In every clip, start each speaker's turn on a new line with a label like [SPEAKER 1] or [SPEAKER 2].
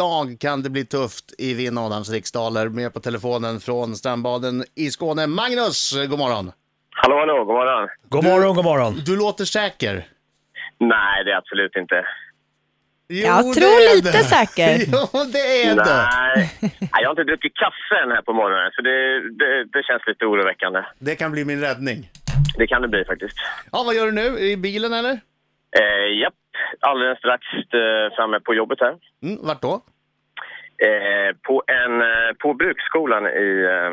[SPEAKER 1] dag kan det bli tufft i Vinn Adams riksdaler. Med på telefonen från strandbaden i Skåne. Magnus, god morgon!
[SPEAKER 2] Hallå, hallå, god morgon.
[SPEAKER 3] God morgon, god morgon.
[SPEAKER 1] Du låter säker.
[SPEAKER 2] Nej, det är absolut inte.
[SPEAKER 1] Jo,
[SPEAKER 4] Jag
[SPEAKER 1] det
[SPEAKER 4] tror
[SPEAKER 1] är
[SPEAKER 4] lite
[SPEAKER 1] det.
[SPEAKER 4] säker.
[SPEAKER 1] Jo, det är det.
[SPEAKER 2] Nej, Nej, jag har inte druckit kaffe än här på morgonen, så det, det, det känns lite oroväckande.
[SPEAKER 1] Det kan bli min räddning.
[SPEAKER 2] Det kan det bli faktiskt.
[SPEAKER 1] Ja, vad gör du nu? I bilen eller?
[SPEAKER 2] Eh, japp, alldeles strax eh, framme på jobbet här.
[SPEAKER 1] Mm, vart då?
[SPEAKER 2] Eh, på, en, eh, på bruksskolan i... Eh,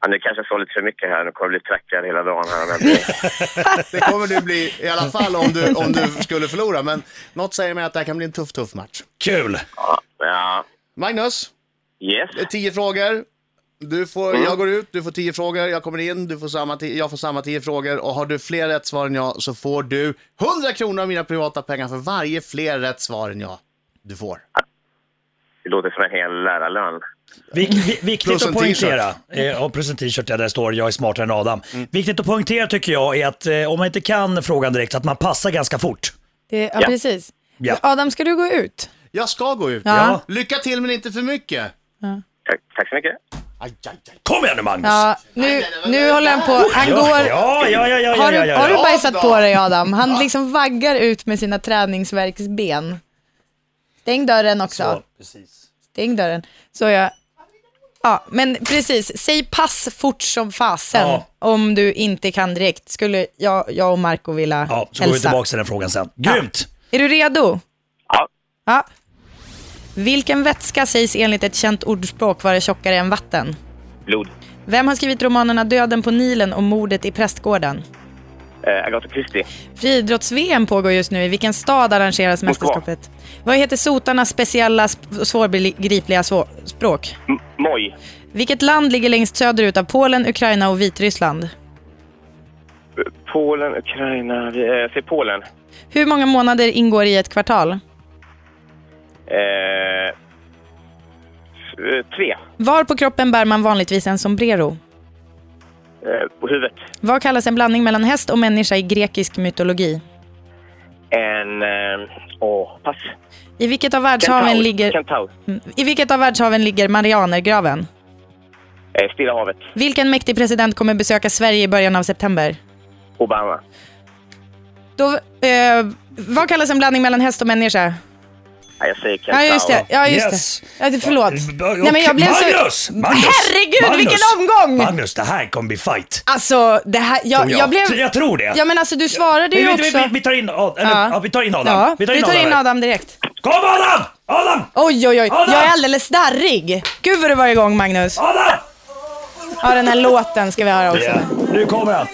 [SPEAKER 2] ja, nu kanske jag sa lite för mycket här, nu kommer jag bli trackad hela dagen här. om jag blir-
[SPEAKER 1] Det kommer du bli i alla fall om du, om du skulle förlora. Men något säger mig att det här kan bli en tuff, tuff match.
[SPEAKER 3] Kul.
[SPEAKER 2] Ja,
[SPEAKER 1] Magnus,
[SPEAKER 2] yes.
[SPEAKER 1] det är tio frågor. Du får, Jag går ut, du får tio frågor, jag kommer in, du får samma ti- jag får samma tio frågor och har du fler rätt svar än jag så får du 100 kronor av mina privata pengar för varje fler rätt svar än jag du får.
[SPEAKER 2] Det låter som en hel lärarlön.
[SPEAKER 3] Vik, vi- viktigt
[SPEAKER 1] Plus
[SPEAKER 3] att
[SPEAKER 1] en
[SPEAKER 3] poängtera, eh, och plus en t-shirt där det står “Jag är smartare än Adam”.
[SPEAKER 1] Mm.
[SPEAKER 3] Viktigt att poängtera tycker jag är att eh, om man inte kan frågan direkt, att man passar ganska fort.
[SPEAKER 4] Det, ja,
[SPEAKER 2] Ja.
[SPEAKER 4] precis.
[SPEAKER 3] Ja.
[SPEAKER 4] Adam, ska du gå ut?
[SPEAKER 1] Jag ska gå ut.
[SPEAKER 4] Ja.
[SPEAKER 1] Lycka till men inte för mycket.
[SPEAKER 2] Tack, tack så mycket.
[SPEAKER 1] Aj, aj, aj.
[SPEAKER 3] Kom igen nu Magnus!
[SPEAKER 4] Ja, nu, nu håller han på. Han
[SPEAKER 3] ja,
[SPEAKER 4] går...
[SPEAKER 3] ja, ja, ja, ja,
[SPEAKER 4] Har
[SPEAKER 3] ja,
[SPEAKER 4] du,
[SPEAKER 3] ja,
[SPEAKER 4] har du
[SPEAKER 3] ja.
[SPEAKER 4] bajsat på dig Adam? Han liksom vaggar ut med sina träningsverksben. Stäng dörren också.
[SPEAKER 3] Så, precis.
[SPEAKER 4] Stäng dörren. Så jag... Ja, men precis. Säg pass fort som fasen
[SPEAKER 3] Ja.
[SPEAKER 4] om du inte kan direkt. Skulle jag, jag och Marco vilja
[SPEAKER 3] Ja, så går vi
[SPEAKER 4] hälsa.
[SPEAKER 3] tillbaka till den frågan sen. Grymt!
[SPEAKER 4] Är du redo?
[SPEAKER 2] Ja,
[SPEAKER 4] Ja. Vilken vätska sägs enligt ett känt ordspråk vara tjockare än vatten?
[SPEAKER 2] blod.
[SPEAKER 4] Vem har skrivit romanerna Döden på Nilen och Mordet i prästgården?
[SPEAKER 2] Eh, Agatha Christie.
[SPEAKER 4] Friidrotts-VM pågår just nu. I vilken stad arrangeras
[SPEAKER 2] Moskva.
[SPEAKER 4] mästerskapet? Vad heter sotarnas speciella sp- och svårbegripliga svå- språk?
[SPEAKER 2] M- Moj.
[SPEAKER 4] Vilket land ligger längst söderut av Polen, Ukraina och Vitryssland?
[SPEAKER 2] Polen, Ukraina. Vi, eh, säg Polen.
[SPEAKER 4] Hur många månader ingår i ett kvartal?
[SPEAKER 2] Eh, s- eh, tre.
[SPEAKER 4] Var på kroppen bär man vanligtvis en sombrero?
[SPEAKER 2] Eh, på huvudet.
[SPEAKER 4] Vad kallas en blandning mellan häst och människa i grekisk mytologi?
[SPEAKER 2] En... Eh, åh, pass.
[SPEAKER 4] I vilket av världshaven ligger, Mm,
[SPEAKER 2] Kentaur.
[SPEAKER 4] i vilket av världshaven ligger Marianergraven?
[SPEAKER 2] Eh, Stilla havet.
[SPEAKER 4] Vilken mäktig president kommer besöka Sverige i början av september?
[SPEAKER 2] Obama.
[SPEAKER 4] Då, eh, vad kallas en blandning mellan häst och människa?
[SPEAKER 2] Ja, jag säger
[SPEAKER 4] Ja,
[SPEAKER 2] Kentaur.
[SPEAKER 4] just det. Ja, just
[SPEAKER 3] Yes. eh,
[SPEAKER 4] det. Ja, det- förlåt.
[SPEAKER 3] B- b-
[SPEAKER 4] Nej, men jag blev så...
[SPEAKER 3] Magnus! Magnus!
[SPEAKER 4] Herregud,
[SPEAKER 3] Magnus!
[SPEAKER 4] vilken omgång!
[SPEAKER 3] Magnus, det här kommer bli fight.
[SPEAKER 4] Alltså, det här... Jag, jag
[SPEAKER 3] Så
[SPEAKER 4] blev...
[SPEAKER 3] jag tror det.
[SPEAKER 4] Ja, men alltså du svarade ju
[SPEAKER 3] vi,
[SPEAKER 4] också...
[SPEAKER 3] vi, vi tar in, Ad- eller,
[SPEAKER 4] Ja.
[SPEAKER 3] ja. vi tar in Adam.
[SPEAKER 4] Ja,
[SPEAKER 3] vi tar in Adam. här.
[SPEAKER 4] Adam direkt.
[SPEAKER 3] Kom Adam! Adam!
[SPEAKER 4] Oj, oj, oj.
[SPEAKER 3] Adam! Ah!
[SPEAKER 4] Jag är alldeles darrig. Gud vad du var igång, Magnus.
[SPEAKER 3] Adam!
[SPEAKER 4] Ja, den här låten ska vi höra också.
[SPEAKER 3] Nu kommer han.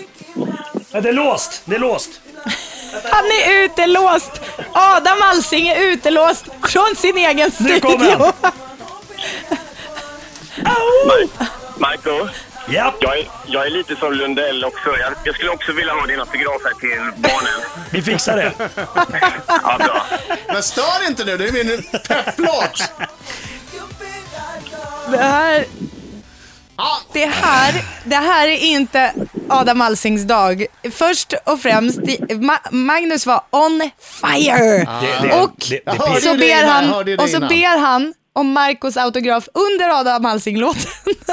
[SPEAKER 3] Ja, det är låst, det är låst.
[SPEAKER 4] Han är utelåst! Adam Alsing är utelåst från sin egen
[SPEAKER 3] Nu kommer
[SPEAKER 4] studio.
[SPEAKER 2] Marco,
[SPEAKER 3] Ja,
[SPEAKER 2] jag är, jag är lite som Lundell också. Jag, jag skulle också vilja ha din autograf här till barnen.
[SPEAKER 3] vi fixar det.
[SPEAKER 2] Ja, bra.
[SPEAKER 1] Men stör inte nu, det är min pepplåt.
[SPEAKER 4] Det här,
[SPEAKER 1] Ja,
[SPEAKER 4] det, här, det här är inte Adam Alsings dag. Först och främst, det- Ma- Magnus var on fire.
[SPEAKER 3] det-
[SPEAKER 4] och
[SPEAKER 3] det- det är
[SPEAKER 4] så
[SPEAKER 1] pinsamt.
[SPEAKER 4] ber
[SPEAKER 1] Jag
[SPEAKER 4] han,
[SPEAKER 1] hörde ju Ah. det
[SPEAKER 4] och så
[SPEAKER 1] innan.
[SPEAKER 4] ber han om Marcos autograf under Adam Alsing-låten.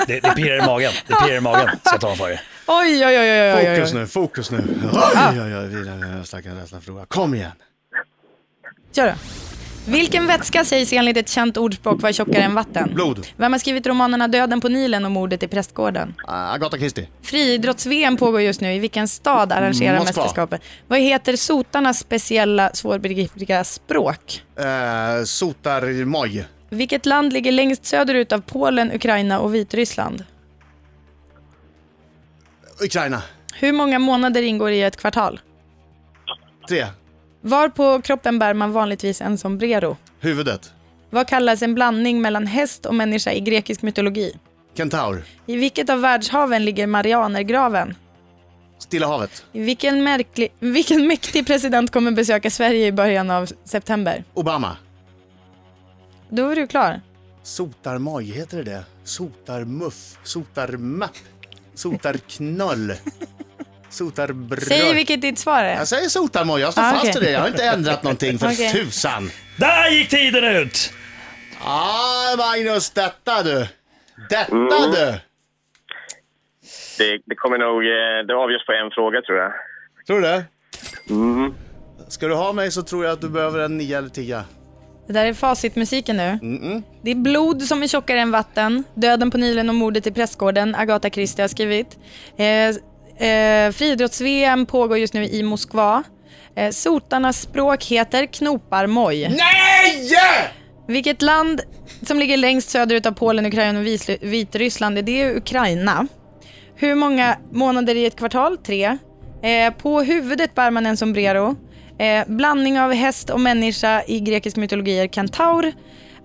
[SPEAKER 3] Det, det pirrar i magen. Det pirrar i magen. Ska jag ta för det.
[SPEAKER 4] Oj, oj, oj, oj, oj, oj. Ah.
[SPEAKER 1] Fokus nu, fokus nu. Oj, oj, oj, vila med den stackars rädslan för att förlora. Kom igen.
[SPEAKER 4] Kör då. Vilken vätska sägs enligt ett känt ordspråk vara tjockare än vatten?
[SPEAKER 1] Blod.
[SPEAKER 4] Vem har skrivit romanerna Döden på Nilen och Mordet i prästgården?
[SPEAKER 1] Ah, Agatha Christie.
[SPEAKER 4] Friidrotts-VM pågår just nu. I vilken stad arrangerar
[SPEAKER 1] Moskva.
[SPEAKER 4] mästerskapet? Vad heter sotarnas speciella svårbegripliga språk?
[SPEAKER 1] Eh, Sotarmoj.
[SPEAKER 4] Vilket land ligger längst söderut av Polen, Ukraina och Vitryssland?
[SPEAKER 1] Ukraina.
[SPEAKER 4] Hur många månader ingår i ett kvartal?
[SPEAKER 1] Tre.
[SPEAKER 4] Var på kroppen bär man vanligtvis en sombrero?
[SPEAKER 1] Huvudet.
[SPEAKER 4] Vad kallas en blandning mellan häst och människa i grekisk mytologi?
[SPEAKER 1] Kentaur.
[SPEAKER 4] I vilket av världshaven ligger Marianergraven?
[SPEAKER 1] Stilla havet.
[SPEAKER 4] Vilken, märklig, vilken mäktig president kommer besöka Sverige i början av september?
[SPEAKER 1] Obama.
[SPEAKER 4] Då är du klar.
[SPEAKER 1] Sotarmoj, heter det det? Sotarmuff. Sotarmapp. Sotarknöll. Sotarbröd.
[SPEAKER 4] Säg vilket ditt svar är.
[SPEAKER 1] Jag säger sotarmoj, jag står
[SPEAKER 4] Ah,
[SPEAKER 1] fast
[SPEAKER 4] okej.
[SPEAKER 1] vid det. Jag har inte ändrat någonting för
[SPEAKER 4] Okej.
[SPEAKER 1] tusan.
[SPEAKER 3] Där gick tiden ut!
[SPEAKER 1] Ah, Magnus, detta du. Detta du.
[SPEAKER 2] Det, det kommer nog... eh, Det avgörs på en fråga, tror jag.
[SPEAKER 1] Tror du det? Ska du ha mig så tror jag att du behöver en nia eller tia.
[SPEAKER 4] Det där är facitmusiken nu. Det är blod som är tjockare än vatten. Döden på Nilen och mordet i prästgården. Agatha Christie har skrivit. Eh, eh, Friidrotts-VM pågår just nu i Moskva. Eh, sotarnas språk heter knoparmoj.
[SPEAKER 1] Nej!
[SPEAKER 4] Vilket land som ligger längst söderut av Polen, Ukraina och Vis- Vitryssland, är det är Ukraina. Hur många månader i ett kvartal? Tre. Eh, på huvudet bär man en sombrero. Eh, blandning av häst och människa i grekisk mytologi är kentaur.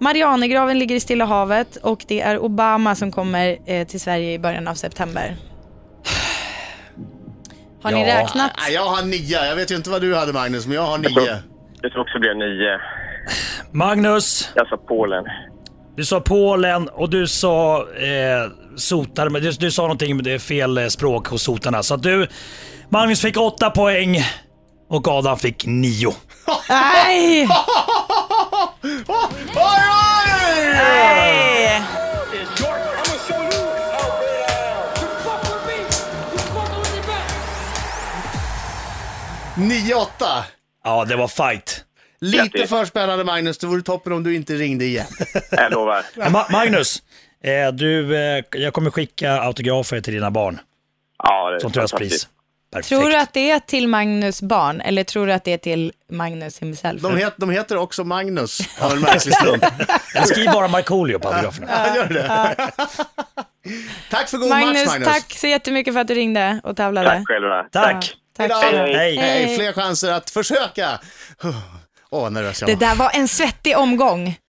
[SPEAKER 4] Marianergraven ligger i Stilla havet och det är Obama som kommer eh, till Sverige i början av september. Har ni
[SPEAKER 3] Ja.
[SPEAKER 4] räknat?
[SPEAKER 1] Nej, jag har nia. Jag vet ju inte vad du hade Magnus, men jag har
[SPEAKER 2] Jag tror,
[SPEAKER 1] nio.
[SPEAKER 2] jag tror också det blir nio.
[SPEAKER 3] Magnus,
[SPEAKER 2] eh, Jag sa Polen.
[SPEAKER 3] du sa Polen och du sa eh, sotar, men du, du sa någonting med det är fel eh, språk hos sotarna. Så att du, Magnus fick åtta poäng och Adam fick nio.
[SPEAKER 4] Nej! Nej!
[SPEAKER 1] Nio, åtta.
[SPEAKER 3] Ja, det var fight.
[SPEAKER 1] Lite
[SPEAKER 2] Grattis.
[SPEAKER 1] för spännande Magnus. Det vore toppen om du inte ringde igen.
[SPEAKER 2] Jag lovar.
[SPEAKER 3] Men Ma- Magnus, eh, du, eh, jag kommer skicka autografer till dina barn
[SPEAKER 2] Ja, det är
[SPEAKER 3] som
[SPEAKER 2] fantastiskt.
[SPEAKER 3] tröstpris. Perfekt.
[SPEAKER 4] Tror du att det är till Magnus barn eller tror du att det är till Magnus himself?
[SPEAKER 1] De, het, de heter också Magnus av en märklig slump.
[SPEAKER 3] Eller skriv bara Markoolio på autograferna.
[SPEAKER 1] Han gör det. Tack för god
[SPEAKER 4] Magnus,
[SPEAKER 1] match Magnus.
[SPEAKER 4] tack så jättemycket för att du ringde och tävlade.
[SPEAKER 2] Tack själva.
[SPEAKER 3] Tack!
[SPEAKER 4] Tack.
[SPEAKER 1] Hej då.
[SPEAKER 3] Hej.
[SPEAKER 1] Hej, fler chanser att försöka. Åh, vad nervös jag
[SPEAKER 4] Det
[SPEAKER 1] var.
[SPEAKER 4] där var en svettig omgång.